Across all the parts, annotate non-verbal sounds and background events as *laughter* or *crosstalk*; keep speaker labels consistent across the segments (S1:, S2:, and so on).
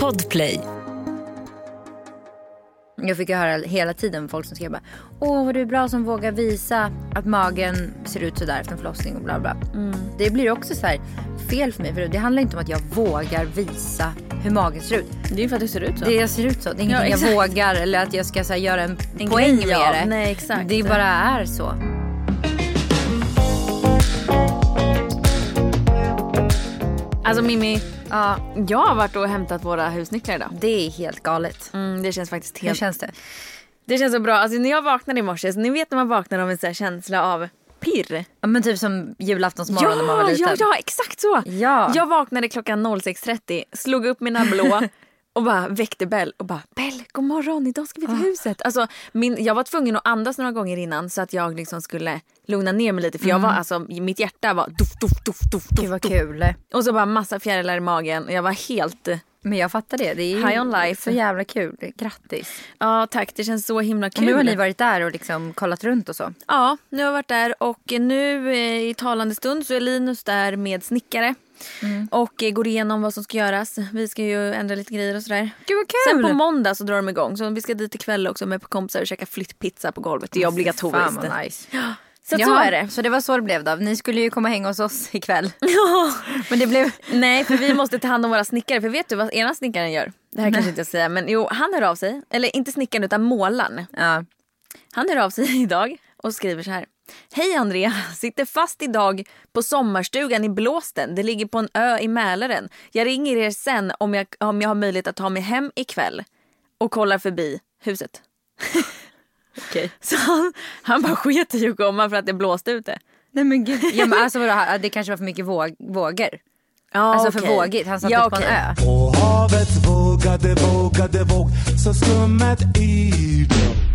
S1: Podplay. Jag fick ju höra hela tiden folk som skrev bara, åh vad du är bra som vågar visa att magen ser ut sådär efter en förlossning och bla bla.
S2: Mm.
S1: Det blir också så här fel för mig för det handlar inte om att jag vågar visa hur magen ser ut.
S2: Det är ju för att du ser ut så.
S1: Det jag ser ut så. Det är ingenting
S2: exakt.
S1: jag vågar eller att jag ska så här, göra en,
S2: En
S1: poäng
S2: grej
S1: med
S2: av.
S1: det.
S2: Nej, exakt.
S1: Det bara är så.
S2: Alltså Mimmi,
S1: Ja,
S2: jag har varit och hämtat våra husnycklar idag.
S1: det är helt galet.
S2: Mm, det känns faktiskt
S1: Hur
S2: helt...
S1: känns det?
S2: Det känns så bra. Alltså när jag vaknade i morse, så ni vet när man vaknar av en sån här känsla av pirr.
S1: Ja men typ som julaftonsmorgon när man var liten.
S2: ja, ja, exakt så.
S1: Ja.
S2: Jag vaknade klockan 06.30, slog upp mina
S1: *laughs*
S2: blå och bara väckte Bell och bara Bell, god morgon, idag ska vi
S1: Ah.
S2: till huset. Alltså, min, jag var tvungen att andas några gånger innan så att jag liksom skulle lugna ner mig lite för jag
S1: Mm.
S2: var alltså, mitt hjärta var doff, doff, doff, doff, doff,
S1: Gud vad
S2: doff.
S1: kul.
S2: Och så bara massa fjärilar i magen och jag var helt,
S1: Men jag fattar det. Det är ju
S2: High on life.
S1: så jävla kul. Grattis.
S2: ja tack det känns så himla
S1: Och
S2: kul.
S1: nu har ni varit där och liksom kollat runt och så.
S2: Ja, nu har jag varit där och nu eh, i talande stund så är Linus där med snickare.
S1: Mm.
S2: Och eh, går igenom vad som ska göras. Vi ska ju ändra lite grejer och sådär.
S1: Gud vad
S2: Sen på måndag så drar de igång. Så vi ska dit ikväll också med på kompisar och käka flyttpizza på golvet. Det är
S1: Mm, Fan
S2: obligatoriskt.
S1: vad nice.
S2: Så att
S1: Ja,
S2: så är det.
S1: Så det var så det blev då. Ni skulle ju komma och hänga hos oss ikväll.
S2: *laughs* Ja.
S1: Men det blev...
S2: Nej, för vi måste ta hand om våra snickare. För vet du vad ena snickaren gör? Det här kanske inte jag ska säga. Men jo, han hör av sig. Eller inte snickaren utan målaren.
S1: Ja.
S2: Han hör av sig *laughs* idag och skriver så här. Hej Andrea, sitter fast idag på sommarstugan i blåsten. Det ligger på en ö i Mälaren. Jag ringer er sen om jag, om jag har möjlighet att ta mig hem ikväll och kollar förbi huset.
S1: *laughs* Okej.
S2: Så han, han bara sket i att komma för att det blåste ute.
S1: Nej men gud. Ja men alltså vadå, det kanske var för mycket våg, vågor.
S2: Ja,
S1: Alltså för vågigt. Han satt
S2: ja,
S1: ut på en
S2: okej.
S1: ö.
S3: Och havet vågade, vågade, våg så skummet i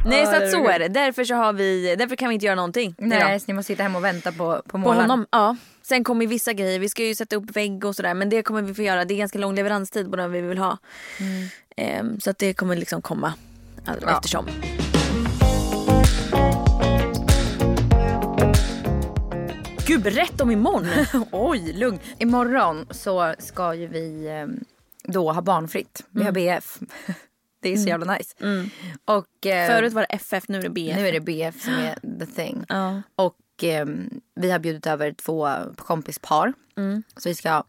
S2: Nej, så
S1: Ja,
S2: att
S1: det var
S2: så
S1: gud.
S2: är det. Därför, så har vi, därför kan vi inte göra någonting. idag.
S1: Nej så ni måste sitta hemma och vänta på, på
S2: På
S1: målaren.
S2: honom, ja. Sen kommer vissa grejer. Vi ska ju sätta upp vägg och sådär. Men det kommer vi få göra. Det är ganska lång leveranstid på de vi vill ha. Ehm, så att det kommer liksom komma all-
S1: Ja.
S2: eftersom. Gud, berätta om *laughs* imorgon. Eh,
S1: *laughs* Oj, lugn. Imorgon så ska ju vi eh, då ha barnfritt. Vi
S2: Mm.
S1: har BF. *laughs* Det är så jävla nice. Och, eh,
S2: Förut var det FF, nu är det BF.
S1: Nu är det BF som
S2: *gasps*
S1: är the thing.
S2: Ja.
S1: Och eh, vi har bjudit över två kompispar.
S2: Mm.
S1: Så vi ska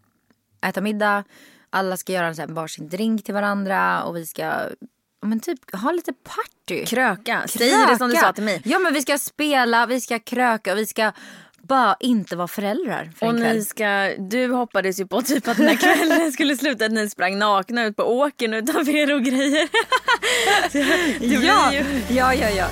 S1: äta middag. Alla ska göra en sån här varsin drink till varandra. Och vi ska ja, men typ, ha lite party.
S2: Kröka. Säg det som du
S1: Kröka.
S2: sa till mig.
S1: Ja men vi ska spela, vi ska kröka och vi ska bara inte vara föräldrar för en
S2: Och
S1: kväll.
S2: ni ska, du hoppades ju på typ att den här kvällen skulle sluta att ni sprang nakna ut på åkern utanför er och grejer. *laughs* det blir
S1: ja,
S2: ju...
S1: ja, ja, ja.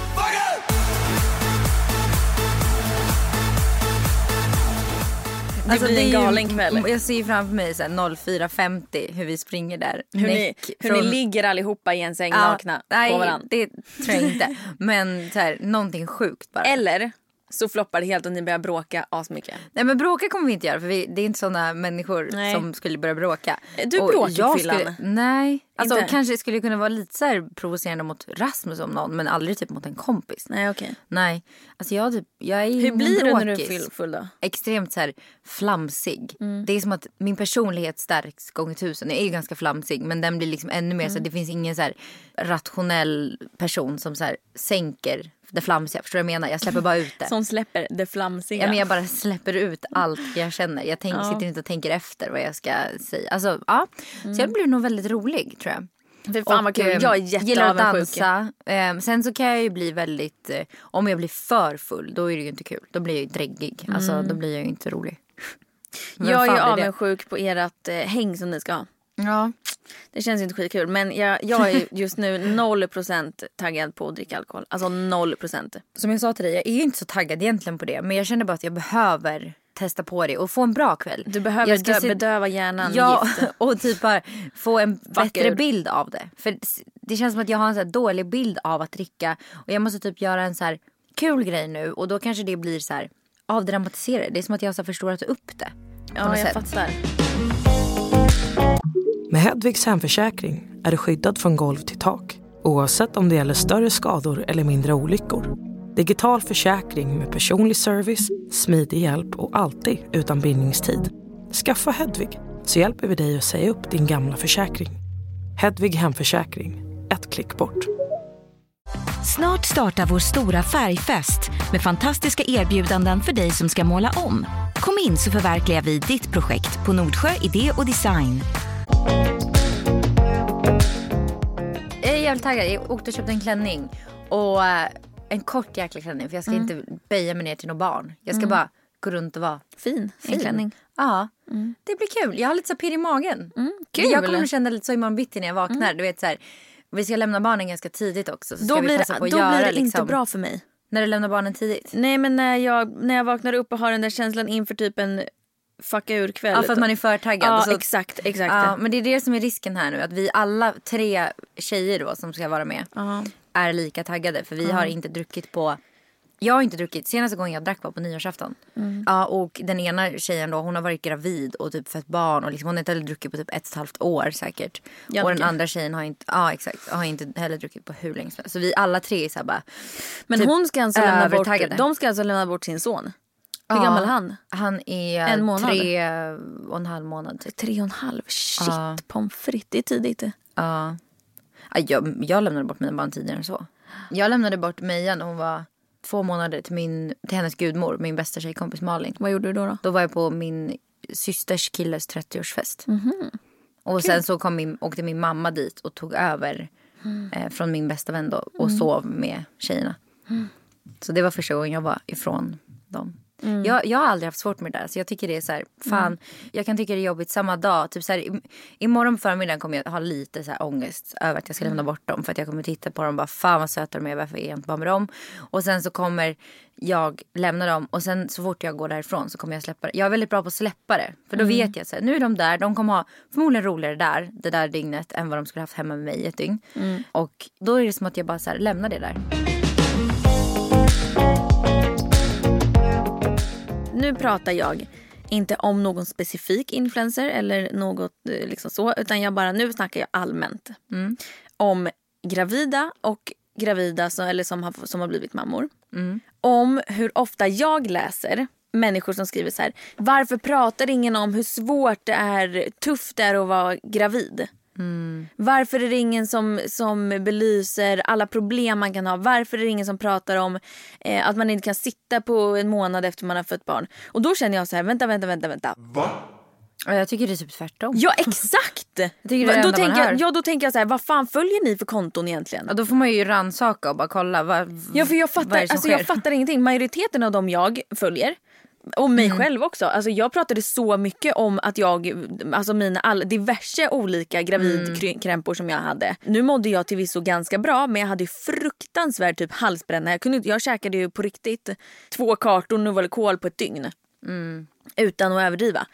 S2: Det blir en
S1: Alltså, är ju-
S2: galen kväll.
S1: Jag ser ju framför mig så här 04.50 hur vi springer där.
S2: Hur, ni,
S1: Näck
S2: hur
S1: från-
S2: ni ligger allihopa i en säng
S1: Ja,
S2: nakna
S1: nej,
S2: på varandra.
S1: det tror jag
S2: *laughs*
S1: inte. Men så här, någonting sjukt bara.
S2: Eller så floppar det helt och ni börjar bråka asmycket.
S1: Nej men bråka kommer vi inte göra för vi, det är inte såna människor
S2: Nej.
S1: som skulle börja bråka.
S2: Du
S1: Och
S2: bråkig,
S1: jag
S2: Fyllan.
S1: skulle, Nej. Alltså
S2: Inte?
S1: kanske skulle kunna vara lite så här provocerande mot Rasmus om någon men aldrig typ mot en kompis.
S2: Nej okej. Mm,
S1: Nej. Alltså jag, typ, jag är
S2: Hur
S1: ingen
S2: blir du när du är
S1: bråkis.
S2: full, full då?
S1: extremt så här flamsig.
S2: Mm.
S1: Det är som att min personlighet stärks gånger tusen. Jag är ju ganska flamsig men den blir liksom ännu mer
S2: Mm.
S1: så här, det finns ingen så här rationell person som så här sänker det flamsiga. Förstår du vad jag menar? Jag släpper bara ut det.
S2: *laughs* Som Mm. släpper det flamsiga.
S1: Ja, men jag bara släpper ut allt jag känner. Jag tänk, sitter inte och tänker efter vad jag ska säga. Alltså, ja. Så
S2: Mm.
S1: jag blir nog väldigt rolig tror jag.
S2: Fy fan vad kul.
S1: eh,
S2: Jag är
S1: Gillar att
S2: jätteavundsjuk.
S1: dansa. Eh, sen så kan jag ju bli väldigt, eh, om jag blir för full då är det ju inte kul. Då blir jag ju dräggig. Alltså då blir jag ju inte rolig. Vem
S2: Jag är
S1: fan
S2: ju
S1: blir det?
S2: avundsjuk på ert eh, häng som ni ska ha.
S1: Ja.
S2: Det känns ju inte skitkul men jag, jag *laughs* är just nu 0% taggad på att dricka alkohol. Alltså 0%.
S1: Som jag sa till dig, jag är ju inte så taggad egentligen på det. Men jag känner bara att jag behöver testa på det och få en bra kväll.
S2: Du behöver
S1: Jag ska
S2: dö-
S1: se-
S2: bedöva hjärnan med
S1: Ja,
S2: gift.
S1: *laughs* och typ bara få en bättre
S2: ur.
S1: bild av det. För s- det känns som att jag har en så här dålig bild av att dricka. Och jag måste typ göra en så här kul grej nu och då kanske det blir så här avdramatiserade. Det är som att jag har förstorat upp det. på
S2: Ja
S1: något
S2: jag
S1: sätt.
S2: fattar.
S4: Med Hedvigs hemförsäkring är du skyddad från golv till tak oavsett om det gäller större skador eller mindre olyckor. Digital försäkring med personlig service, smidig hjälp och alltid utan bindningstid. Skaffa Hedvig så hjälper vi dig att säga upp din gamla försäkring. Hedvig Hemförsäkring, ett klick bort.
S5: Snart startar vår stora färgfest med fantastiska erbjudanden för dig som ska måla om. Kom in så förverkligar vi ditt projekt på Nordsjö Idé och Design.
S1: Jag är jävligt taggad. Jag åkte och köpte en klänning. Och eh, en kort jäkla klänning. För jag ska
S2: Mm.
S1: inte böja mig ner till något barn. Jag ska bara gå runt och vara
S2: Fin, fin.
S1: fin.
S2: klänning.
S1: Ja. Det blir kul. Jag har lite så här pirr i magen.
S2: Mm. kul. Mm.
S1: Jag kommer att känna lite så imorgon bitti när jag vaknar. Du vet så här. Vi ska lämna barnen ganska tidigt också. Så
S2: Då
S1: ska
S2: blir
S1: vi
S2: det,
S1: passa
S2: då
S1: på att
S2: blir
S1: göra,
S2: det
S1: liksom,
S2: inte bra för mig.
S1: När du lämnar barnen tidigt.
S2: Nej men när jag, när jag vaknar upp och har den där känslan inför typ en fucka ur kväll.
S1: Ja, för att man är för taggad.
S2: Ja
S1: Och så-
S2: exakt, exakt.
S1: Ja, men det är det som är risken här nu. Att vi alla tre tjejer då som ska vara med
S2: Ja.
S1: är lika taggade. För vi har inte druckit på... Jag har inte druckit. Senaste gången jag drack var på nyårsafton.
S2: Mm.
S1: Ja, och den ena tjejen då, hon har varit gravid och typ fött barn. Och liksom, hon har inte heller druckit på typ ett och ett halvt år säkert. Och den
S2: Jannike.
S1: andra tjejen har inte, ja, exakt, har inte heller druckit på hur länge som helst. Så vi alla tre är så här bara...
S2: Men
S1: typ
S2: hon ska alltså lämna bort,
S1: övertaggade.
S2: de ska alltså lämna bort sin son. Hur
S1: Ja.
S2: gammal är han?
S1: Han är
S2: En månad.
S1: tre och en halv månad typ.
S2: Tre och en halv. Shit,
S1: Ja.
S2: pommes frites. Det är tidigt. det.
S1: Ja. Ja, Jag, jag lämnade bort mina barn tidigare än så. Jag lämnade bort Meja när hon var två månader till, min, till hennes gudmor, min bästa tjejkompis Malin.
S2: Vad gjorde du då? då?
S1: Då var jag på min systers killes 30-årsfest. Och sen så kom min, åkte min mamma dit och tog över eh, från min bästa vän då, och sov med tjejerna. Så det var första gången jag var ifrån dem. Jag, jag har aldrig haft svårt med det där. Så jag tycker det är så här, fan, jag kan tycka det är jobbigt samma dag. Typ så här, im- imorgon förmiddagen kommer jag ha lite så här ångest över att jag ska lämna bort dem. För att jag kommer titta på dem och bara, fan vad söta de är, varför är jag inte bara med dem? Och sen så kommer jag lämna dem och sen så fort jag går därifrån så kommer jag släppa det. Jag är väldigt bra på att släppa det. För då vet jag att nu är de där, de kommer ha förmodligen roligare där, det där dygnet än vad de skulle haft hemma med mig i ett dygn. Och då är det som att jag bara så här, lämnar det där.
S2: Nu pratar jag inte om någon specifik influencer eller något eh, liksom så. Utan jag bara, nu snackar jag allmänt. Om gravida och gravida som, eller som, har, som har blivit mammor. Om hur ofta jag läser människor som skriver så här. Varför pratar ingen om hur svårt det är, tufft det är att vara gravid? Varför är det ingen som, som belyser alla problem man kan ha? Varför är det ingen som pratar om eh, att man inte kan sitta på en månad efter man har fött barn? Och då känner jag så här, vänta, vänta, vänta, vänta.
S1: Och jag tycker det är typ tvärtom.
S2: Ja, exakt!
S1: tycker det är det
S2: då,
S1: enda man
S2: tänker jag,
S1: hör.
S2: ja, då tänker jag så här, vad fan följer ni för konton egentligen?
S1: Ja, då får man ju rannsaka och bara kolla. Vad,
S2: Ja, för jag
S1: vad är
S2: fattar,
S1: det som
S2: alltså, jag
S1: sker?
S2: fattar ingenting. Majoriteten av dem jag följer och mig
S1: Mm.
S2: själv också. Alltså jag pratade så mycket om att jag, alltså mina all, diverse olika gravidkrämpor som jag hade. Nu mådde jag till visso ganska bra men jag hade ju fruktansvärd typ halsbränna. Jag, kunde, inte- jag käkade ju på riktigt två kartor Novalucol på ett dygn.
S1: Mm.
S2: Utan att överdriva.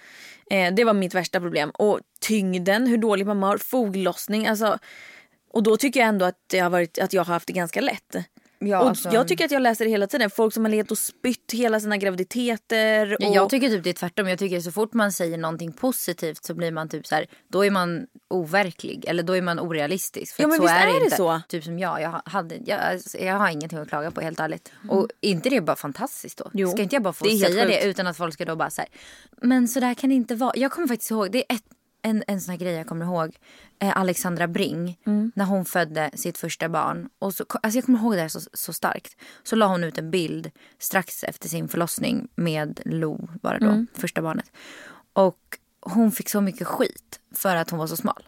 S2: Eh, det var mitt värsta problem. Och tyngden, hur dålig man mår, foglossning. Alltså, och då tycker jag ändå att, det har varit, att jag har haft det ganska lätt.
S1: Ja,
S2: och
S1: alltså-
S2: Jag tycker att jag läser det hela tiden. Folk som har legat och spytt hela sina graviditeter.
S1: Ja,
S2: och,
S1: Jag tycker typ det är tvärtom. Jag tycker så fort man säger någonting positivt så blir man typ så här, då är man overklig eller då är man orealistisk. För
S2: Ja,
S1: att
S2: men
S1: så
S2: visst
S1: är,
S2: är det
S1: inte.
S2: så.
S1: Typ som jag, jag, hade, jag, alltså, jag har ingenting att klaga på helt ärligt. Och inte det är bara fantastiskt då?
S2: Mm. Jo,
S1: Ska inte jag bara få
S2: det är helt
S1: säga det
S2: sjukt.
S1: utan att folk ska då bara så här, men så där kan det inte vara. Jag kommer faktiskt ihåg, det är ett, en, en sån här grej jag kommer ihåg. Eh, Alexandra Bring, när hon födde sitt första barn. Och så, alltså jag kommer ihåg det här så, så starkt. Så la hon ut en bild strax efter sin förlossning med Lo, bara då, första barnet. Och hon fick så mycket skit för att hon var så smal.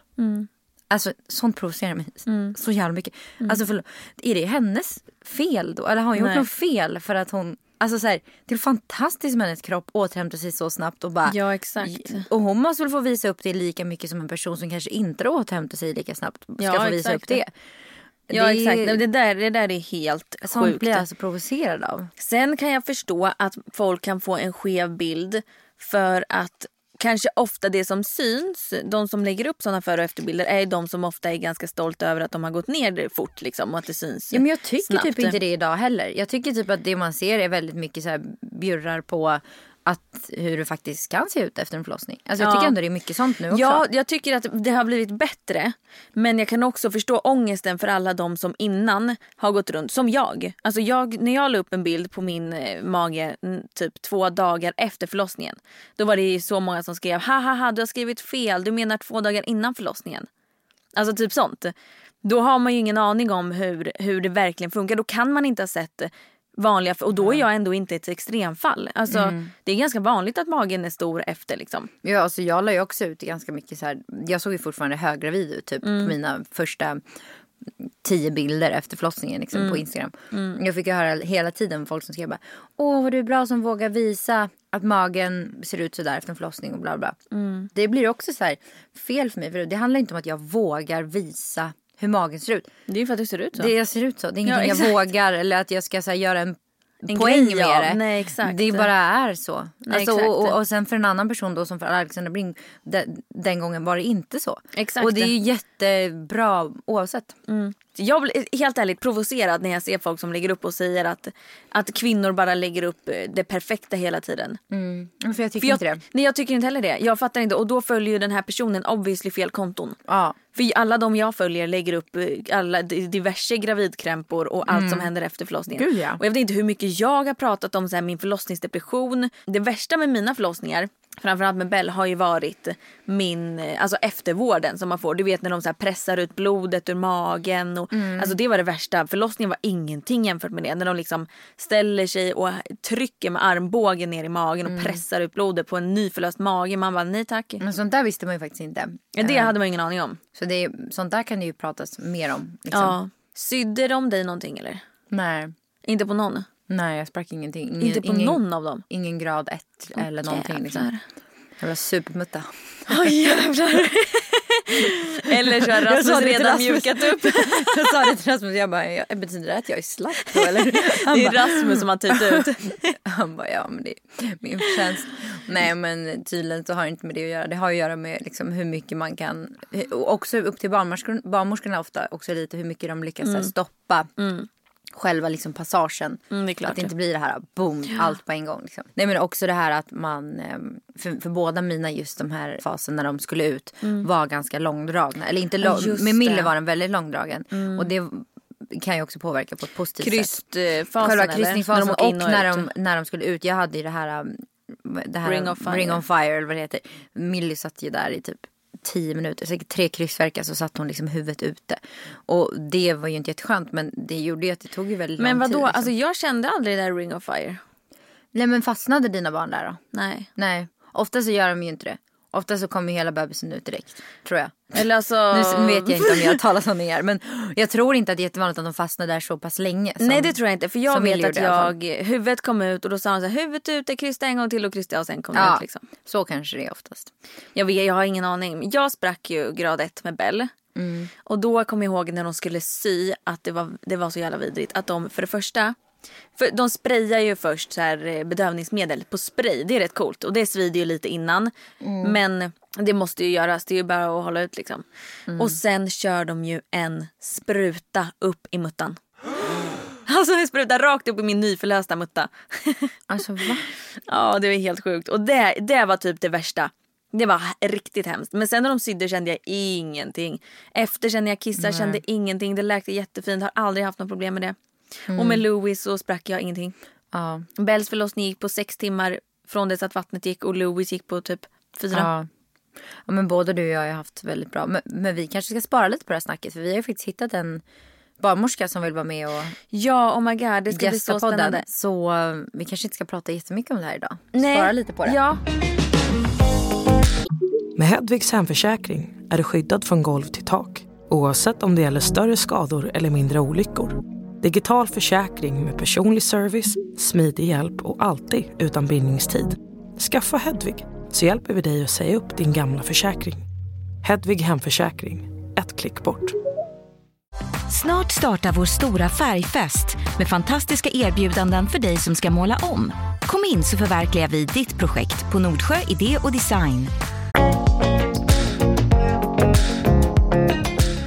S1: Alltså sånt provocerar mig så jävla mycket. Alltså förlåt, är det hennes fel då? Eller har hon gjort
S2: Nej.
S1: något fel för att hon... Alltså så här, det är fantastiskt med hennes kropp återhämtar sig så snabbt och bara...
S2: Ja, exakt.
S1: Och hon måste väl få visa upp det lika mycket som en person som kanske inte återhämtar sig lika snabbt ska
S2: Ja,
S1: få visa
S2: exakt.
S1: upp det.
S2: ja,
S1: det är-
S2: exakt. Nej, Det, där, det där är helt
S1: Sånt
S2: sjukt.
S1: blir jag alltså provocerad av.
S2: Sen kan jag förstå att folk kan få en skev bild för att kanske ofta det som syns, de som lägger upp såna före och efterbilder är de som ofta är ganska stolta över att de har gått ner fort liksom och att det syns
S1: Ja, men jag tycker
S2: snabbt.
S1: typ inte det idag heller. Jag tycker typ att det man ser är väldigt mycket så här bjurrar på att hur det faktiskt kan se ut efter en förlossning. Alltså jag
S2: Ja.
S1: tycker ändå det är mycket sånt nu också.
S2: Ja, jag tycker att det har blivit bättre. Men jag kan också förstå ångesten för alla de som innan har gått runt, som jag. Alltså jag när jag la upp en bild på min eh, mage mm, typ två dagar efter förlossningen. Då var det ju så många som skrev ha ha ha du har skrivit fel, du menar två dagar innan förlossningen. Alltså typ sånt. Då har man ju ingen aning om hur, hur det verkligen funkar. Då kan man inte ha sett vanliga... Och då är jag ändå inte ett extremfall. Alltså, Det är ganska vanligt att magen är stor efter. Liksom.
S1: Ja, alltså jag la ju också ut ganska mycket så här. Jag såg ju fortfarande höggravid ut typ på mina första tio bilder efter förlossningen liksom, på Instagram. Jag fick ju höra hela tiden folk som skrev bara Åh vad du är bra som vågar visa att magen ser ut sådär efter en förlossning och bla bla. Det blir också så här fel för mig för det handlar inte om att jag vågar visa hur magen ser ut.
S2: Det är ju för att det ser ut så.
S1: Det jag ser ut så. Det är
S2: Ja,
S1: ingenting
S2: exakt.
S1: jag vågar eller att jag ska så här, göra en,
S2: En
S1: poäng
S2: grej
S1: med
S2: av.
S1: det.
S2: Nej, exakt.
S1: Det bara är så.
S2: Nej,
S1: alltså,
S2: exakt.
S1: och, och, och sen för en annan person då som för Alexander Bring, den, den gången var det inte så.
S2: Exakt.
S1: Och det är ju jättebra oavsett.
S2: Jag blir helt ärligt provocerad när jag ser folk som lägger upp och säger att, att kvinnor bara lägger upp eh, det perfekta hela tiden.
S1: Mm. För jag tycker
S2: För jag,
S1: inte det.
S2: Nej, jag tycker inte heller det. Jag fattar inte. Och då följer ju den här personen obviously fel konton.
S1: Ja.
S2: För alla de jag följer lägger upp eh, alla d- diverse gravidkrämpor och allt som händer efter förlossningen.
S1: Mm. Gud, ja.
S2: Och jag vet inte hur mycket jag har pratat om så här, min förlossningsdepression. Det värsta med mina förlossningar, framförallt med Bell, har ju varit min, eh, alltså eftervården som man får. Du vet när de så här pressar ut blodet ur magen. Och,
S1: Mm.
S2: Alltså det var det värsta. Förlossningen var ingenting jämfört med det. När de liksom ställer sig och trycker med armbågen ner i magen
S1: Mm.
S2: och pressar ut blodet på en nyförlöst mage. Man bara nej tack.
S1: Men sånt där visste man ju faktiskt inte. Eh,
S2: Ja, det hade man ingen aning om.
S1: Så det är, sånt där kan det ju pratas mer om. Liksom.
S2: Ja. Sydde de dig någonting eller?
S1: Nej.
S2: Inte på någon?
S1: Nej, jag sprack ingenting. Ingen,
S2: Inte på
S1: ingen,
S2: någon av *laughs* dem?
S1: Ingen grad ett eller någonting. Liksom.
S2: Jävlar.
S1: Jävla supermutta.
S2: Åh, jävlar. eller så har
S1: Jag sa
S2: Rasmus
S1: det till
S2: redan
S1: Rasmus.
S2: mjukat *laughs* upp.
S1: *laughs* Jag sa det till Rasmus, jag bara, jag, betyder det att jag är slapp då eller? Han
S2: Det är
S1: bara,
S2: Rasmus som har tytt ut. *laughs*
S1: Han bara, ja men det är min förtjänst. Nej men tydligen så har det inte med det att göra. Det har att göra med liksom hur mycket man kan, och också upp till barnmorskor- barnmorskorna ofta, också lite hur mycket de lyckas så här, stoppa själva liksom passagen.
S2: Mm, det är klart.
S1: Att det inte blir det här boom, allt på en gång. Liksom. Nej men också det här att man, eh, för, för båda mina just de här fasen när de skulle ut var ganska långdragna. Eller inte lång,
S2: Mm. just
S1: med Mille
S2: det. Mm.
S1: var den väldigt långdragen. Och det kan ju också påverka på ett positivt sätt.
S2: Krystfasen
S1: Själva
S2: eller?
S1: kryssningsfasen
S2: När
S1: och,
S2: de åker in
S1: när,
S2: ut.
S1: de, när de skulle ut. Jag hade ju det här, um, det här
S2: Ring of fire.
S1: Ring on fire eller vad det heter. Millie satt ju där i typ tio minuter, säkert tre kryssverkar så satt hon liksom huvudet ute. Och det var ju inte jätteskönt men det gjorde ju att det tog ju väldigt
S2: Men
S1: lång
S2: vadå,
S1: tid. Liksom.
S2: alltså, jag kände aldrig det där ring of fire.
S1: Nej men fastnade dina barn där då?
S2: Nej.
S1: Nej, ofta så gör de ju inte det. Ofta så kommer ju hela bebisen ut direkt, tror jag.
S2: Eller alltså...
S1: Nu vet jag inte om jag talar som ni är men jag tror inte att det är jättevanligt att de fastnar där så pass länge. Som...
S2: Nej det tror jag inte för jag
S1: som Millie
S2: vet att
S1: gjorde i alla
S2: jag, huvudet kom ut och då sa han så här huvudet ute, krysta en gång till och krysta och sen kom det
S1: ja,
S2: ut liksom.
S1: Så kanske det är oftast.
S2: Jag, vet, jag har ingen aning. Jag sprack ju grad ett med Bell. Och då kom jag ihåg när de skulle sy att det var, det var så jävla vidrigt. Att de för det första, för de sprayar ju först så här eh, bedövningsmedel på spray. Det är rätt coolt och det svider ju lite innan. Men det måste ju göras, det är ju bara att hålla ut liksom. Och sen kör de ju en spruta upp i muttan. *gasps* Alltså en spruta rakt upp i min nyförlösta mutta. *laughs*
S1: Alltså va?
S2: Ja, det var helt sjukt. Och det, det var typ det värsta. Det var h- riktigt hemskt. Men sen när de sydde kände jag ingenting. Efter sen när jag kissade kände ingenting. Det läkte jättefint. Har aldrig haft något problem med det.
S1: Mm.
S2: Och med Louis så sprack jag ingenting.
S1: Ja.
S2: Bells förlossning gick på sex timmar från dess att vattnet gick och Louis gick på typ fyra.
S1: Ja. ja men både du och jag har ju haft väldigt bra. Men, men vi kanske ska spara lite på det här snacket. För vi har ju faktiskt hittat en barnmorska som vill vara med och
S2: Ja, oh my god. Det ska bli
S1: gästa
S2: så
S1: podden.
S2: spännande.
S1: Så eh, vi kanske inte ska prata jättemycket om det här idag. Spara lite på det.
S2: Ja,
S4: Med Hedvigs hemförsäkring är du skyddad från golv till tak oavsett om det gäller större skador eller mindre olyckor. Digital försäkring med personlig service, smidig hjälp och alltid utan bindningstid. Skaffa Hedvig så hjälper vi dig att säga upp din gamla försäkring. Hedvig hemförsäkring, ett klick bort.
S5: Snart startar vår stora färgfest med fantastiska erbjudanden för dig som ska måla om. Kom in så förverkligar vi ditt projekt på Nordsjö Idé och Design.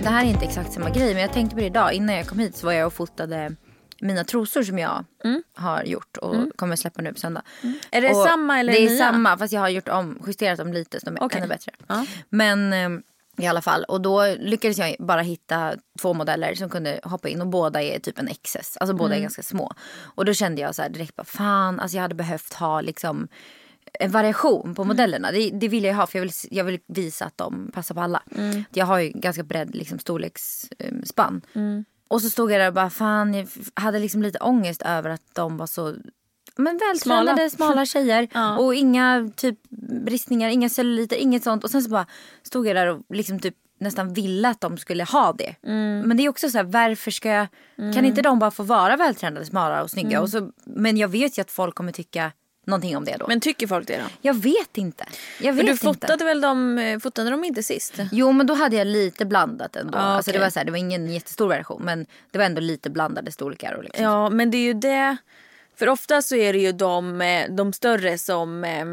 S1: Det här är inte exakt samma grej men jag tänkte på det idag. Innan jag kom hit så var jag och fotade mina trosor som jag har gjort och kommer släppa nu på söndag.
S2: Mm. Är det
S1: och
S2: samma eller
S1: Det är
S2: nya?
S1: samma fast jag har gjort om, justerat dem lite så de är
S2: Okej.
S1: ännu bättre.
S2: Ja.
S1: Men eh, i alla fall, och då lyckades jag bara hitta två modeller som kunde hoppa in och båda är typ en XS. Alltså båda är ganska små. Och då kände jag så här direkt bara fan, alltså jag hade behövt ha liksom en variation på modellerna. Det, det vill jag ha för jag vill, jag vill visa att de passar på alla. Jag har ju ganska bredd liksom, storleksspann. Och så stod jag där och bara fan, jag f- hade liksom lite ångest över att de var så men vältränade, smala, tjejer. Och inga typ bristningar, inga celluliter, inget sånt. Och sen så bara stod jag där och liksom typ nästan ville att de skulle ha det.
S2: Mm.
S1: Men det är också så här, varför ska jag... Kan inte de bara få vara vältränade, smala och snygga?
S2: Mm.
S1: Och så, men jag vet ju att folk kommer tycka någonting om det då.
S2: Men tycker folk det då?
S1: Jag vet inte. Jag
S2: För
S1: vet
S2: du
S1: inte.
S2: fotade väl dem, eh, fotade dem inte sist?
S1: Jo men då hade jag lite blandat ändå.
S2: Ja,
S1: alltså, det,
S2: Ah, okej.
S1: var så här, det var ingen jättestor version men det var ändå lite blandade storlekar. Och liksom.
S2: Ja, men det är ju det. För ofta så är det ju de, eh, de större som eh,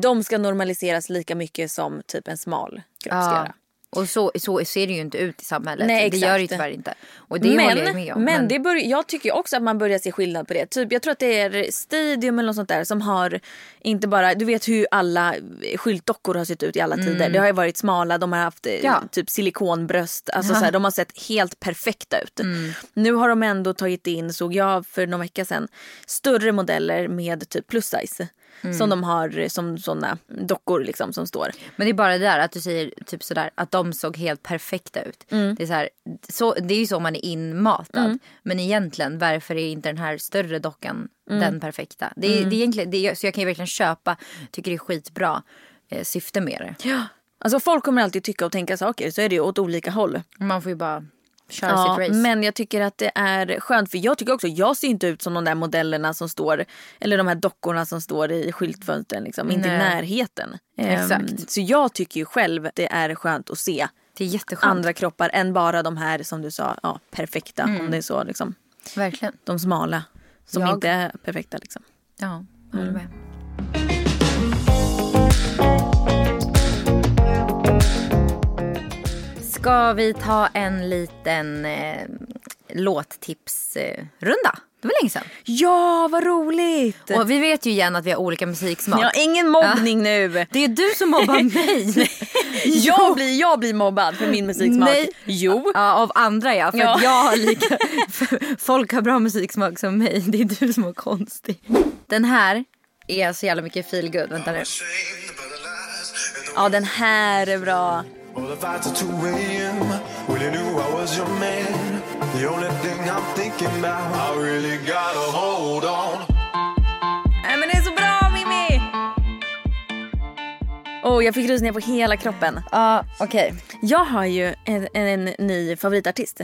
S2: de ska normaliseras lika mycket som typ en smal kropp ska göra.
S1: Och så, så ser det ju inte ut i samhället.
S2: Nej,
S1: det
S2: exakt.
S1: gör det ju tyvärr inte. Och det håller jag ju med om.
S2: men, men det bör, jag tycker ju också att man börjar se skillnad på det. Typ, jag tror att det är Stadium eller något sånt där som har inte bara, du vet hur alla skyltdockor har sett ut i alla tider. Det har ju varit smala, de har haft eh,
S1: Mm. Ja.
S2: typ silikonbröst, alltså så här, de har sett helt perfekta ut.
S1: Mm.
S2: Nu har de ändå tagit in, såg jag för någon vecka sedan, större modeller med typ plus size.
S1: Mm.
S2: Som de har eh, som sådana dockor liksom som står.
S1: Men det är bara det där att du säger typ sådär att de såg helt perfekta ut.
S2: Mm.
S1: Det, är så här, så, det är ju så man är inmatad. Men egentligen varför är inte den här större dockan
S2: Mm.
S1: den perfekta? Det är, det är egentligen, det är, så jag kan ju verkligen köpa, tycker det är skitbra eh, syfte med det.
S2: Alltså folk kommer alltid tycka och tänka saker så är det ju åt olika håll.
S1: Man får ju bara köra
S2: Ja,
S1: sitt race.
S2: men jag tycker att det är skönt för jag tycker också, jag ser inte ut som de där modellerna som står eller de här dockorna som står i skyltfönstren liksom, inte i
S1: Nej.
S2: närheten. Ehm,
S1: Exakt.
S2: så jag tycker ju själv det är skönt att se
S1: det är jätteskönt.
S2: andra kroppar än bara de här som du sa, ja, perfekta om det är så liksom.
S1: Verkligen.
S2: De smala som
S1: Mm. Jag-
S2: inte är perfekta liksom.
S1: Ja, jag håller med. Ska vi ta en liten eh, låttipsrunda? Det var länge sedan.
S2: Ja, vad roligt!
S1: Och vi vet ju igen att vi har olika musiksmak.
S2: Ja, ingen
S1: *laughs*
S2: mobbning nu!
S1: Det är du som mobbar mig.
S2: Jag blir, jag blir mobbad för min musiksmak.
S1: Nej.
S2: Jo.
S1: Ja, av andra ja. För
S2: Ja.
S1: att jag har lika... *laughs* för Folk har bra musiksmak som mig. Det är du som är konstig. Den här är så jävla mycket feel good. Vänta nu.
S2: Ja, den här är bra.
S3: Well, if I took 2 a.m., well, you knew I was your man. The only thing I'm thinking about, I really gotta hold on.
S2: Nej men det är så bra Mimmi! Åh, jag fick rysningar på hela kroppen.
S1: Ja, okej.
S2: Jag har ju en, en, en ny favoritartist.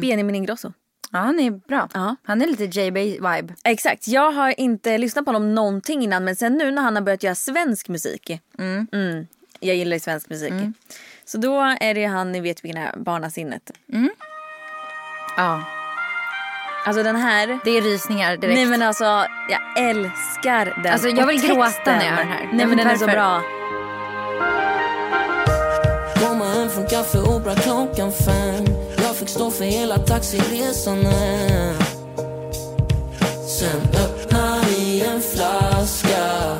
S2: Benjamin Ingrosso.
S1: Ja, han är bra.
S2: Ja.
S1: Han är lite JB-vibe.
S2: Exakt, jag har inte lyssnat på honom någonting innan men sen nu när han har börjat göra svensk musik. Mm, jag gillar ju svensk musik. Så då är det ju han, ni vet vilken är, Barnasinnet.
S1: Ja.
S2: Alltså den här.
S1: Det är rysningar direkt.
S2: Nej men alltså jag älskar den.
S1: Alltså, jag
S2: Och
S1: vill gråta
S2: texten.
S1: när jag hör den här. Jag
S2: Nej men
S1: vet
S2: den är så
S1: varför.
S2: bra.
S6: Komma hem från kaffe opera klockan fem Jag fick stå för hela taxiresan hem Sen öppnade vi en flaska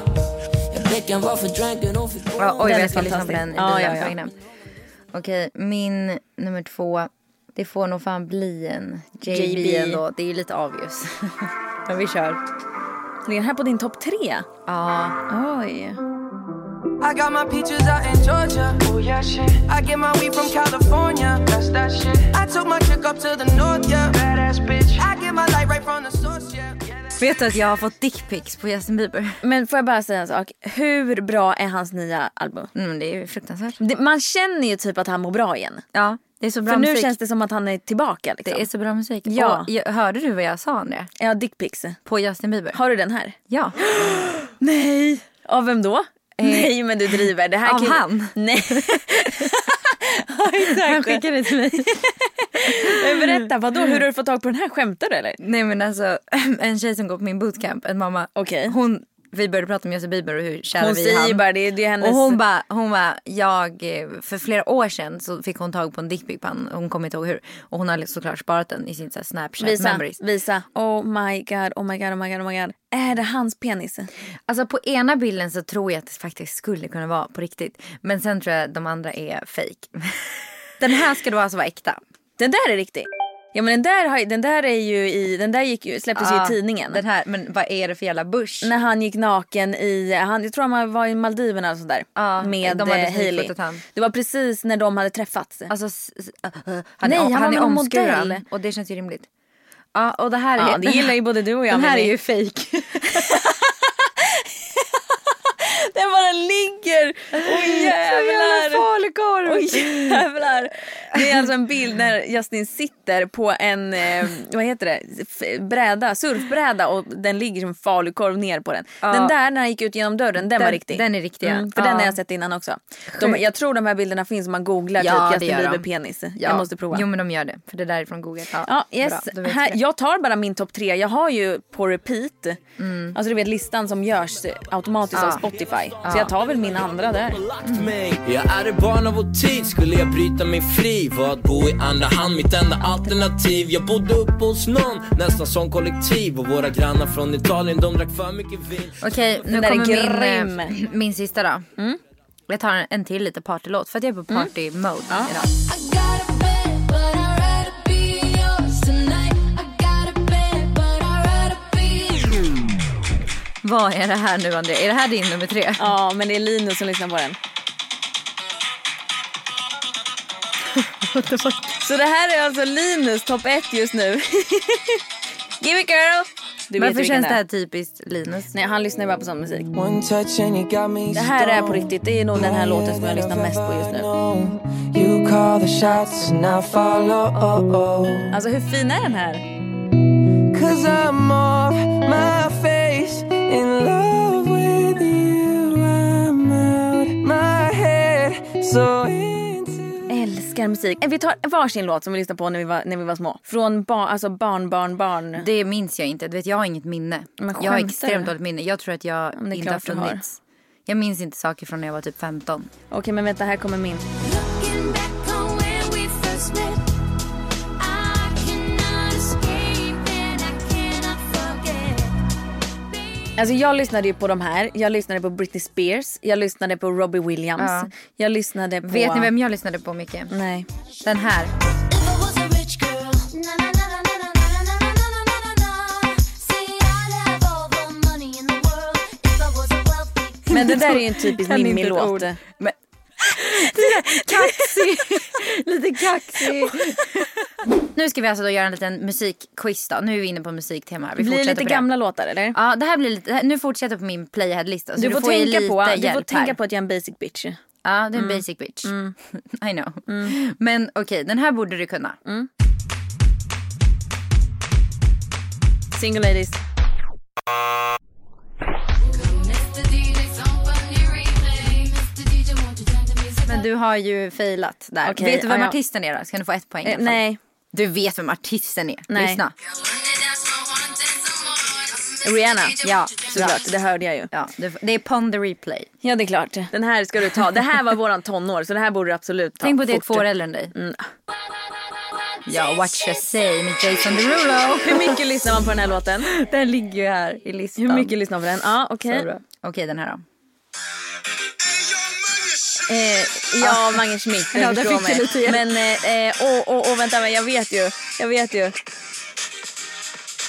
S6: Jag blickade varför dranken och fick
S1: Ja, oj,
S2: Den
S1: vad
S2: är
S1: jag ska lyssna på
S2: fantastisk.
S1: den i bilen.
S2: Ja, ja, ja.
S1: på vägen hem. Okej, min nummer två. Det får nog fan bli en JB,
S2: JB.
S1: ändå. Det är ju lite
S2: *laughs*
S1: obvious. Men vi kör.
S2: Den här på din topp tre.
S1: Ja.
S2: Oj.
S7: I got my peaches out in Georgia. Oh yeah, shit. I get my weed from California. That's that shit. I took my chick up to the north, yeah. Badass bitch. I get my light right from the source, yeah. yeah that's
S1: Vet du att jag har fått dickpics på Justin Bieber? Mm,
S2: Men får jag bara säga en sak? Hur bra är hans nya album?
S1: Mm, det är ju fruktansvärt.
S2: Det, man känner ju typ att han mår bra igen.
S1: Ja, det är så bra
S2: För nu
S1: musik.
S2: känns det som att han är tillbaka. Liksom.
S1: Det är så bra musik.
S2: Ja.
S1: Och, jag- hörde du vad jag sa Andrea?
S2: Ja, dickpics.
S1: På Justin Bieber?
S2: Har du den här?
S1: Ja.
S2: Nej. Av vem då? *laughs* Nej men du driver. Det här
S1: Av
S2: kan...
S1: han.
S2: *laughs* Nej. ja,
S1: Han
S2: exakt.
S1: skickade det till mig.
S2: *laughs* Men Berätta, vadå? Hur har du fått tag på den här? Skämtar du eller?
S1: *clears throat* Nej men alltså en tjej som går på min bootcamp, en mamma.
S2: Okej.
S1: Hon vi började prata om Justin Bieber och hur kära
S2: Hon
S1: vi är
S2: säger
S1: i
S2: ju
S1: han.
S2: bara det, det är hennes...
S1: Och hon bara, hon bara, jag, eh, för flera år sedan så fick hon tag på en dickpic på han, hon kommer inte ihåg hur. Och hon har liksom såklart sparat den i sin så här, snapchat
S2: visa,
S1: memories.
S2: visa. Oh my god, oh my god, oh my god, oh my god. Är det hans penis?
S1: Alltså på ena bilden så tror jag att det faktiskt skulle kunna vara på riktigt. Men sen tror jag de andra är fake. *laughs* den här ska då alltså vara äkta.
S2: Den där är riktig. Ja men den där, har, ju- den där är ju i, den där gick ju, släpptes ju
S1: Ja,
S2: i tidningen.
S1: Ah. Den här, men vad är det för jävla bush?
S2: När han gick naken i, han, jag tror han var i Maldiverna eller sådär.
S1: Ja,
S2: med
S1: de hade
S2: eh, Hailey.
S1: snifffotat han.
S2: Det var precis när de hade träffats.
S1: Alltså, s- s- äh, äh, han,
S2: Nej,
S1: är,
S2: han
S1: han,
S2: var
S1: är
S2: väl en
S1: omskuren
S2: modell.
S1: och det känns ju rimligt. Ja, och det här
S2: ja,
S1: är,
S2: det gillar ju både du och jag.
S1: den här
S2: men
S1: är
S2: det-
S1: ju fake.
S2: *laughs* Den bara ligger! Åh jävlar!
S1: falukorv!
S2: Åh jävlar! Det är alltså en
S1: *laughs*
S2: bild när Justin sitter på en eh, vad heter det? F- Bräda, surfbräda och den ligger som falukorv ner på den. Den där när han gick ut genom dörren, den, var
S1: Den-
S2: riktig. Mm,
S1: den är riktig, ja.
S2: för den
S1: Ja.
S2: har jag sett innan också. De, jag tror de här bilderna finns om man googlar
S1: Ja,
S2: typ
S1: det
S2: Justin
S1: gör de.
S2: Bieber penis. Jag måste prova.
S1: Jo men de gör det, för det där är från Google. Ja,
S2: Ja, yes.
S1: bra, då vet
S2: här,
S1: vi det.
S2: jag tar bara min topp tre. Jag har ju på repeat.
S1: Mm.
S2: Alltså du vet listan som görs automatiskt av Spotify. Så jag tar väl min andra där.
S8: lagt mig Jag är ett barn av vår tid, skulle jag bryta mig fri Var att bo i andra hand, mitt enda alternativ Jag bodde uppe hos någon, nästan som kollektiv Och våra grannar från Italien, de drack för mycket vin
S1: Okej, nu
S2: där är
S1: kommer min,
S2: grym.
S1: eh, min sista då.
S2: Mm.
S1: Jag tar en, en till lite partylåt för att jag är på party-mode idag.
S9: I got a bed, but I'd rather be yours tonight. I got a bed, but I'd rather be yours.
S1: Vad är det här nu Andrea? Är det här din nummer tre?
S2: Ja, men det är Linus som lyssnar på *laughs* den. Så det här är alltså Linus topp ett just nu. *laughs* Give it girl! Du vet
S1: Varför
S2: vilken
S1: känns
S2: det
S1: det
S2: är.
S1: här typiskt Linus?
S2: Nej, han lyssnar ju bara på sån musik.
S6: One touch and you got me
S2: Det här är på riktigt, det är nog den här låten som jag lyssnar mest på just nu.
S6: You call the shots and I follow
S2: Alltså hur fin är den här?
S6: Cause I'm off my face in love with you. I'm out my head, so into.
S2: Älskar musik. Eh, Vi tar varsin låt som vi lyssnade på när vi var, när vi var små. Från ba, alltså barn, barn, barn.
S1: Det minns jag inte. Du vet, jag har inget minne.
S2: Men
S1: jag har
S2: skämtar du?
S1: extremt dåligt minne. Jag tror att jag
S2: men det är
S1: inte har
S2: klart du har.
S1: funnits. Jag minns inte saker från när jag var typ 15.
S2: Okej, men vänta, här kommer min.
S9: Looking back on when we first met, I cannot escape and I cannot forget.
S2: Alltså jag lyssnade ju på de här. Jag lyssnade på Britney Spears. Jag lyssnade på Robbie Williams.
S1: Ja.
S2: Jag lyssnade på...
S1: Vet ni vem jag lyssnade på mycket?
S2: Nej.
S1: Den här.
S9: If I was a rich girl, na na na na na na na na na na na na. See, I'd have all the money in the world if I was a wealthy girl.
S2: Men det där är ju en *laughs* typisk
S1: Kan inte ett
S2: Mimmi-låt.
S1: ord. Men... Kaxig. Lite kaxig. nu ska vi alltså då göra en liten musikquiz då. Nu är vi inne på musiktema. här. Vi
S2: Blir det
S1: fortsätter
S2: lite
S1: på det.
S2: gamla låtar eller?
S1: Ja, det här blir lite, det här- nu fortsätter jag på min playhead-lista. så
S2: Du får,
S1: ju
S2: tänka
S1: lite
S2: på, du får
S1: hjälp här.
S2: tänka på Mm. att jag är en basic bitch.
S1: Ja, det är en basic bitch. *laughs* I know.
S2: Mm.
S1: Men okej, den här borde du kunna.
S2: Single ladies.
S1: Men du har ju failat där.
S2: Okej,
S1: vet du vem
S2: ja, ja.
S1: artisten är då? Ska du få ett poäng? i alla
S2: Eh,
S1: fall?
S2: nej,
S1: Du vet vem artisten är.
S2: Nej.
S1: Lyssna.
S2: Rihanna.
S1: Ja,
S2: Såklart, det hörde jag ju.
S1: Ja, du, det är Pond the Replay.
S2: Ja, det är klart. Den här ska du ta. Det här var våran tonår så det här borde du absolut ta.
S1: Tänk på att jag är
S2: Fort. Mm.
S1: två år äldre än dig. Ja, What You Say med Jason Derulo.
S2: Hur mycket lyssnar man på den här låten?
S1: Den ligger ju här i listan.
S2: Hur mycket lyssnar man på den? Ja, okej.
S1: Så bra. Okej, den här då.
S2: Eh, ja, Mange Schmidt. Du
S1: Ja, där
S2: förstår
S1: fick du
S2: mig.
S1: lite hjälp.
S2: Men, eh, eh, åh, åh, åh, vänta, men jag vet ju. Jag vet ju.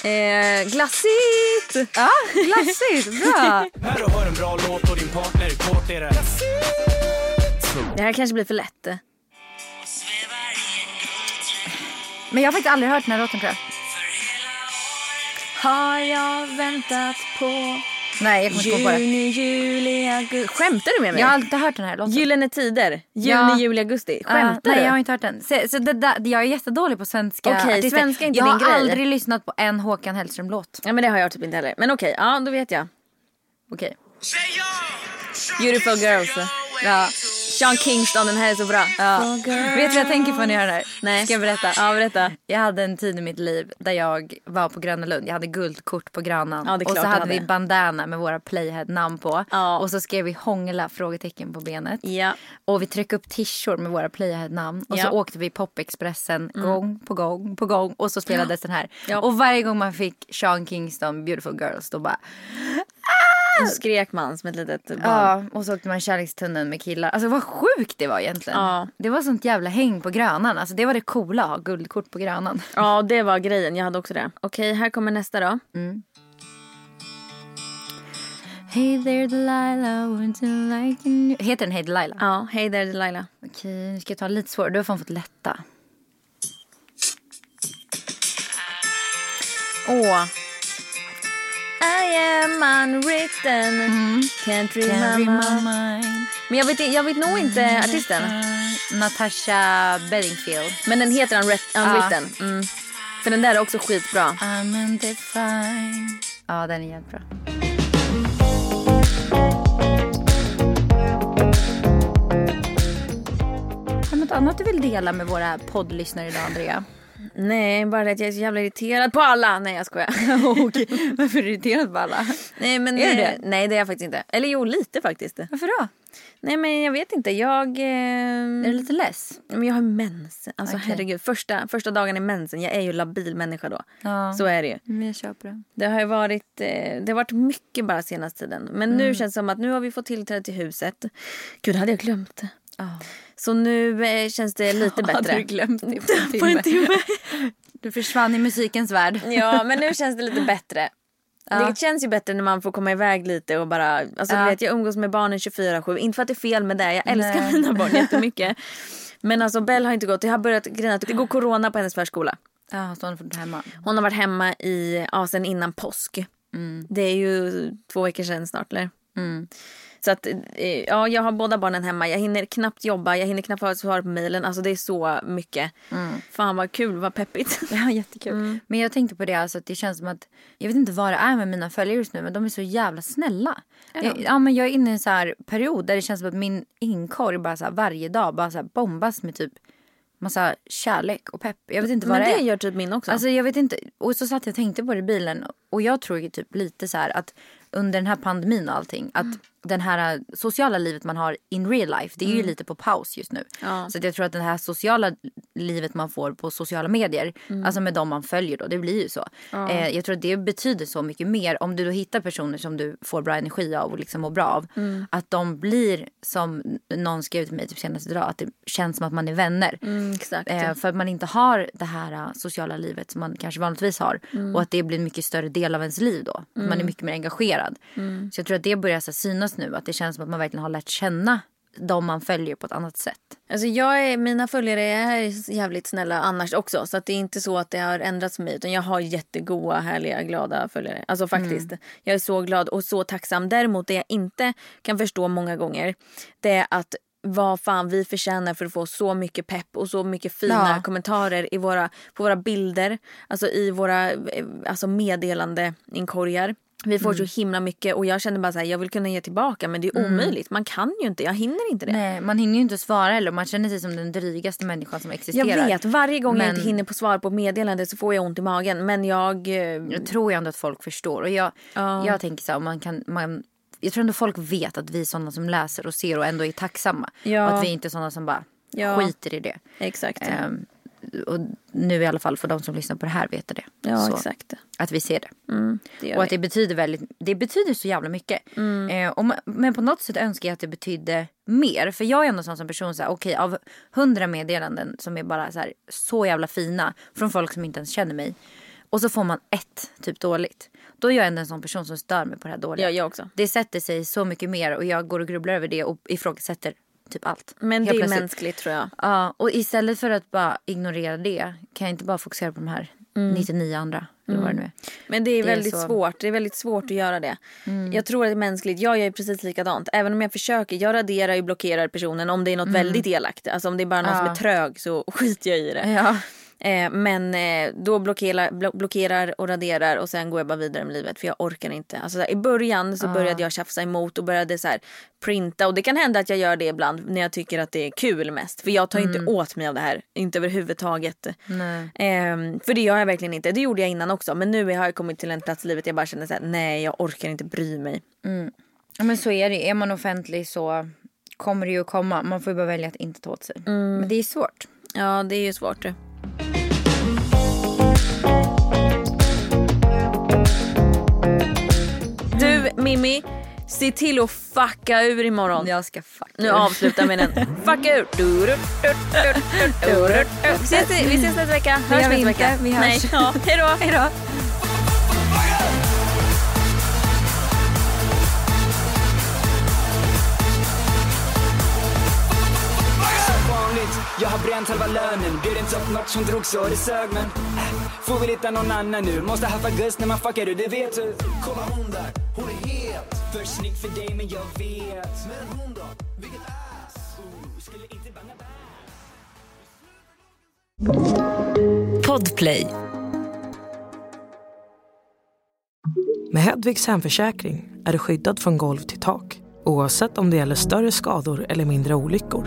S2: Eh, glassigt!
S1: Ja, glassigt. Bra.
S8: Här och hör en bra låt och din partner kåt är det
S2: Det här kanske blir för
S1: *laughs*
S2: lätt.
S1: Men jag har faktiskt aldrig hört den här låten tror jag.
S2: Har jag väntat på
S1: Nej, jag kommer inte komma på det.
S2: juni, juli, augusti. Skämtar du med mig?
S1: Jag har alltid hört den här låten.
S2: Gyllene tider. Juni,
S1: Ja.
S2: juli, augusti.
S1: Ah,
S2: Skämtar
S1: Nej, jag har
S2: du?
S1: inte hört den. Så, så det, där, jag är jättedålig på svenska
S2: Okej,
S1: artister.
S2: svenska är inte
S1: Jag
S2: din
S1: har
S2: grej.
S1: aldrig lyssnat på en Håkan Hellström-låt.
S2: Ja, men det har jag typ inte heller. Men okej, ja då vet jag.
S1: Okej.
S2: Beautiful girls.
S1: Ja.
S2: Sean Kingston, den här är så bra. Ja.
S1: Vet du vad jag tänker på när jag hör den här?
S2: Nej.
S1: Ska jag berätta?
S2: Ja, berätta.
S1: Jag hade en tid i mitt liv där jag var på Gröna Lund. Jag hade guldkort på Grönan.
S2: Ja, det är
S1: och
S2: klart
S1: så
S2: du
S1: hade
S2: hade.
S1: vi bandana med våra playhead-namn på.
S2: Ja.
S1: Och så skrev vi hångla? frågetecken på benet.
S2: Ja.
S1: Och vi tryckte upp tishor med våra playhead-namn. Och
S2: Ja. Mm.
S1: så åkte vi Popexpressen gång på gång på gång. Och så spelades den här.
S2: Ja.
S1: Och varje gång man fick Sean Kingston, Beautiful Girls, då bara...
S2: Då skrek man som ett litet barn.
S1: Ja, och så åkte man kärlekstunneln med killar. Alltså vad sjukt det var egentligen.
S2: Ja.
S1: Det var sånt jävla häng på Grönan. Alltså det var det coola att ha guldkort på Grönan.
S2: Ja, det var grejen. Jag hade också det. Okej, här kommer nästa då.
S1: Hey there Delilah, wouldn't you like a new... Heter den Hey Delilah?
S2: Ja, Hej där Delilah.
S1: Okej, nu ska jag ta lite svårare. Du har fan fått lätta.
S2: Åh. I am unwritten, Mm. can't
S1: Can't
S2: remember. Mm.
S1: remember mine.
S2: Men jag vet, jag vet nog inte artisten.
S1: Natasha Bedingfield.
S2: Men den heter Unwrit- Unwritten. Mm. För den där är också skitbra.
S1: I'm undefined. Ja, den är jättebra. Har du något annat du vill dela med våra poddlyssnare idag, *laughs* Andrea?
S2: Nej, bara det att jag är så jävla irriterad på alla. Nej, jag *laughs* skojar.
S1: Okej, varför är du irriterad på alla?
S2: Nej, men,
S1: Är du
S2: eh, Nej, det är jag faktiskt inte. Eller jo, lite faktiskt.
S1: Varför då?
S2: Nej, men jag vet inte. Jag... ehm,
S1: Är du lite less?
S2: Men jag har mensen. Alltså
S1: Okej.
S2: herregud. Första, första dagen i mensen. Jag är ju labil människa då.
S1: Ja.
S2: Så är det ju.
S1: Men jag köper det.
S2: Det har ju varit, eh, det har varit mycket bara senaste tiden. Men
S1: Mm.
S2: nu känns det som att nu har vi fått tillträde till huset. Gud, hade jag glömt det. Så nu eh, känns det lite bättre.
S1: *laughs* Hade du glömt det på en
S2: *laughs* på
S1: timme?
S2: en timme.
S1: *laughs* Du försvann i musikens värld.
S2: ja, men nu känns det lite bättre. Det känns ju bättre när man får komma iväg lite och bara... Alltså,
S1: Ja.
S2: du vet, jag umgås med barnen 24-7. Inte för att det är fel med det. Jag älskar
S1: Nej.
S2: mina barn jättemycket. Men alltså Bell har inte gått. Jag har börjat grejen att det går corona på hennes förskola.
S1: Ja, så har du fått hemma.
S2: Hon har varit hemma i, ja, sen innan påsk.
S1: Mm.
S2: Det är ju två veckor sedan snart. Eller? Så att, eh, ja, jag har båda barnen hemma. Jag hinner knappt jobba, jag hinner knappt ha ett svar på mejlen. Alltså, det är så mycket. Fan vad kul, vad peppigt.
S1: Mm. Ja, jättekul. Men jag tänkte på det, alltså, att det känns som att... Jag vet inte vad det är med mina följare just nu, men de är så jävla snälla. Jag, ja, men jag är inne i en så här period där det känns som att min inkorg bara så här, varje dag bara så här, bombas med typ massa kärlek och pepp. Jag vet inte vad
S2: Men
S1: det är.
S2: det gör typ min också.
S1: Alltså jag vet inte. Och så satt jag och tänkte på det i bilen. Och jag tror ju typ lite så här att under den här pandemin och allting. Att
S2: Mm.
S1: den här eh, sociala livet man har in real life. Det är ju lite på paus just nu.
S2: Mm. Ja.
S1: Så att jag tror att det här sociala livet man får på sociala medier.
S2: Mm.
S1: Alltså med de man följer då. Det blir ju så. Eh, jag tror att det betyder så mycket mer. Om du då hittar personer som du får bra energi av och liksom mår bra av.
S2: Mm.
S1: Att de blir som någon skrev till mig typ senast idag. Att det känns som att man är vänner.
S2: Mm, exakt.
S1: Eh, för att man inte har det här eh, sociala livet som man kanske vanligtvis har.
S2: Mm.
S1: Och att det blir en mycket större del av ens liv då. Att Man är mycket mer engagerad.
S2: Mm.
S1: Så jag tror att det börjar så här, synas nu. Att det känns som att man verkligen har lärt känna de man följer på ett annat sätt.
S2: Alltså jag är, mina följare är jävligt snälla annars också. Så att det är inte så att det har ändrats för mig. Utan jag har jättegoda, härliga, glada följare. Alltså faktiskt. Jag är så glad och så tacksam. Däremot det jag inte kan förstå många gånger. Det är att vad fan vi förtjänar för att få så mycket pepp och så mycket fina
S1: Ja.
S2: kommentarer i våra, på våra bilder. Alltså i våra eh, alltså meddelandeinkorgar. Vi får så himla mycket och jag känner bara så här, jag vill kunna ge tillbaka men det är omöjligt. Man kan ju inte, jag hinner inte det.
S1: Nej, Eh, man hinner ju inte svara eller man känner sig som den drygaste människan som existerar.
S2: Jag vet, varje gång jag
S1: Men-
S2: inte hinner på svar på meddelande så får jag ont i magen. Men jag... eh,
S1: Jag tror ju ändå att folk förstår. Och jag,
S2: Ja.
S1: jag tänker så här, om man kan... Man, jag tror ändå folk vet att vi är sådana som läser och ser och ändå är tacksamma.
S2: Ja.
S1: Och att vi inte är sådana som bara
S2: Ja.
S1: skiter i det.
S2: Exakt.
S1: Ehm, och nu i alla fall för de som lyssnar på det här vet det.
S2: ja,
S1: så,
S2: exakt.
S1: Att vi ser det.
S2: Det gör
S1: Och att
S2: vi. Mm.
S1: det betyder väldigt, det betyder så jävla mycket. Eh, och ma- men på något sätt önskar jag att det betydde mer. För jag är ändå sån som person, så här, okej av hundra meddelanden som är bara så, här, så jävla fina från folk som inte ens känner mig. Och så får man ett typ dåligt. Då är jag ändå en sån person som stör mig på det här dåliga.
S2: Ja, jag också.
S1: Det sätter sig så mycket mer och jag går och grubblar över det och ifrågasätter typ allt.
S2: Men det
S1: Helt
S2: är
S1: plötsligt.
S2: mänskligt tror jag.
S1: Ja, och istället för att bara ignorera det kan jag inte bara fokusera på de här 99 andra. Eller vad det nu är.
S2: Men det är
S1: Det är
S2: väldigt
S1: så.
S2: svårt. Det är väldigt svårt att göra det. Jag tror att det är mänskligt. Jag gör ju precis likadant. Även om jag försöker. Jag raderar och blockerar personen om det är något väldigt elakt. Alltså om det är bara någon som är trög så *laughs* skiter jag i det.
S1: Ja.
S2: Eh, men eh, då blockerar, blo- blockerar och raderar och sen går jag bara vidare med livet för jag orkar inte. Alltså, så här, I början så började jag tjafsa emot och började så här, printa och det kan hända att jag gör det ibland när jag tycker att det är kul mest. För jag tar inte åt mig av det här, inte överhuvudtaget.
S1: Nej.
S2: Ehm, för det gör jag verkligen inte. Det gjorde jag innan också men nu har jag kommit till en plats i livet jag bara känner så här, nej jag orkar inte bry mig.
S1: Ja, Men så är det. Är man offentlig så kommer det ju att komma. Man får ju bara välja att inte ta åt sig. Men det är svårt.
S2: Ja det är ju svårt. du. Du Mimmi, se till att fucka ur imorgon.
S1: Jag ska fuck
S2: Nu avslutar vi den. Fucka ur! Du, du, du, du, du, du, du. Vi ses i- vi ses nästa vecka. Hörs
S1: gör vi
S2: nästa
S1: inte.
S2: vecka.
S1: Vi hörs.
S2: Nej. Ja, hejdå. hejdå.
S10: som vanligt Jag har bränt halva lönen Bjöd inte upp något som drog så det sög men äh, Får väl hitta någon annan nu Måste haffa gust när man fuckar du, det vet du Kolla hon där, hon är het För snygg för dig men jag vet Men hon då, vilket ass Ooh, Skulle inte banga bär
S5: Podplay.
S4: Med Hedvigs hemförsäkring är du skyddad från golv till tak oavsett om det gäller större skador eller mindre olyckor.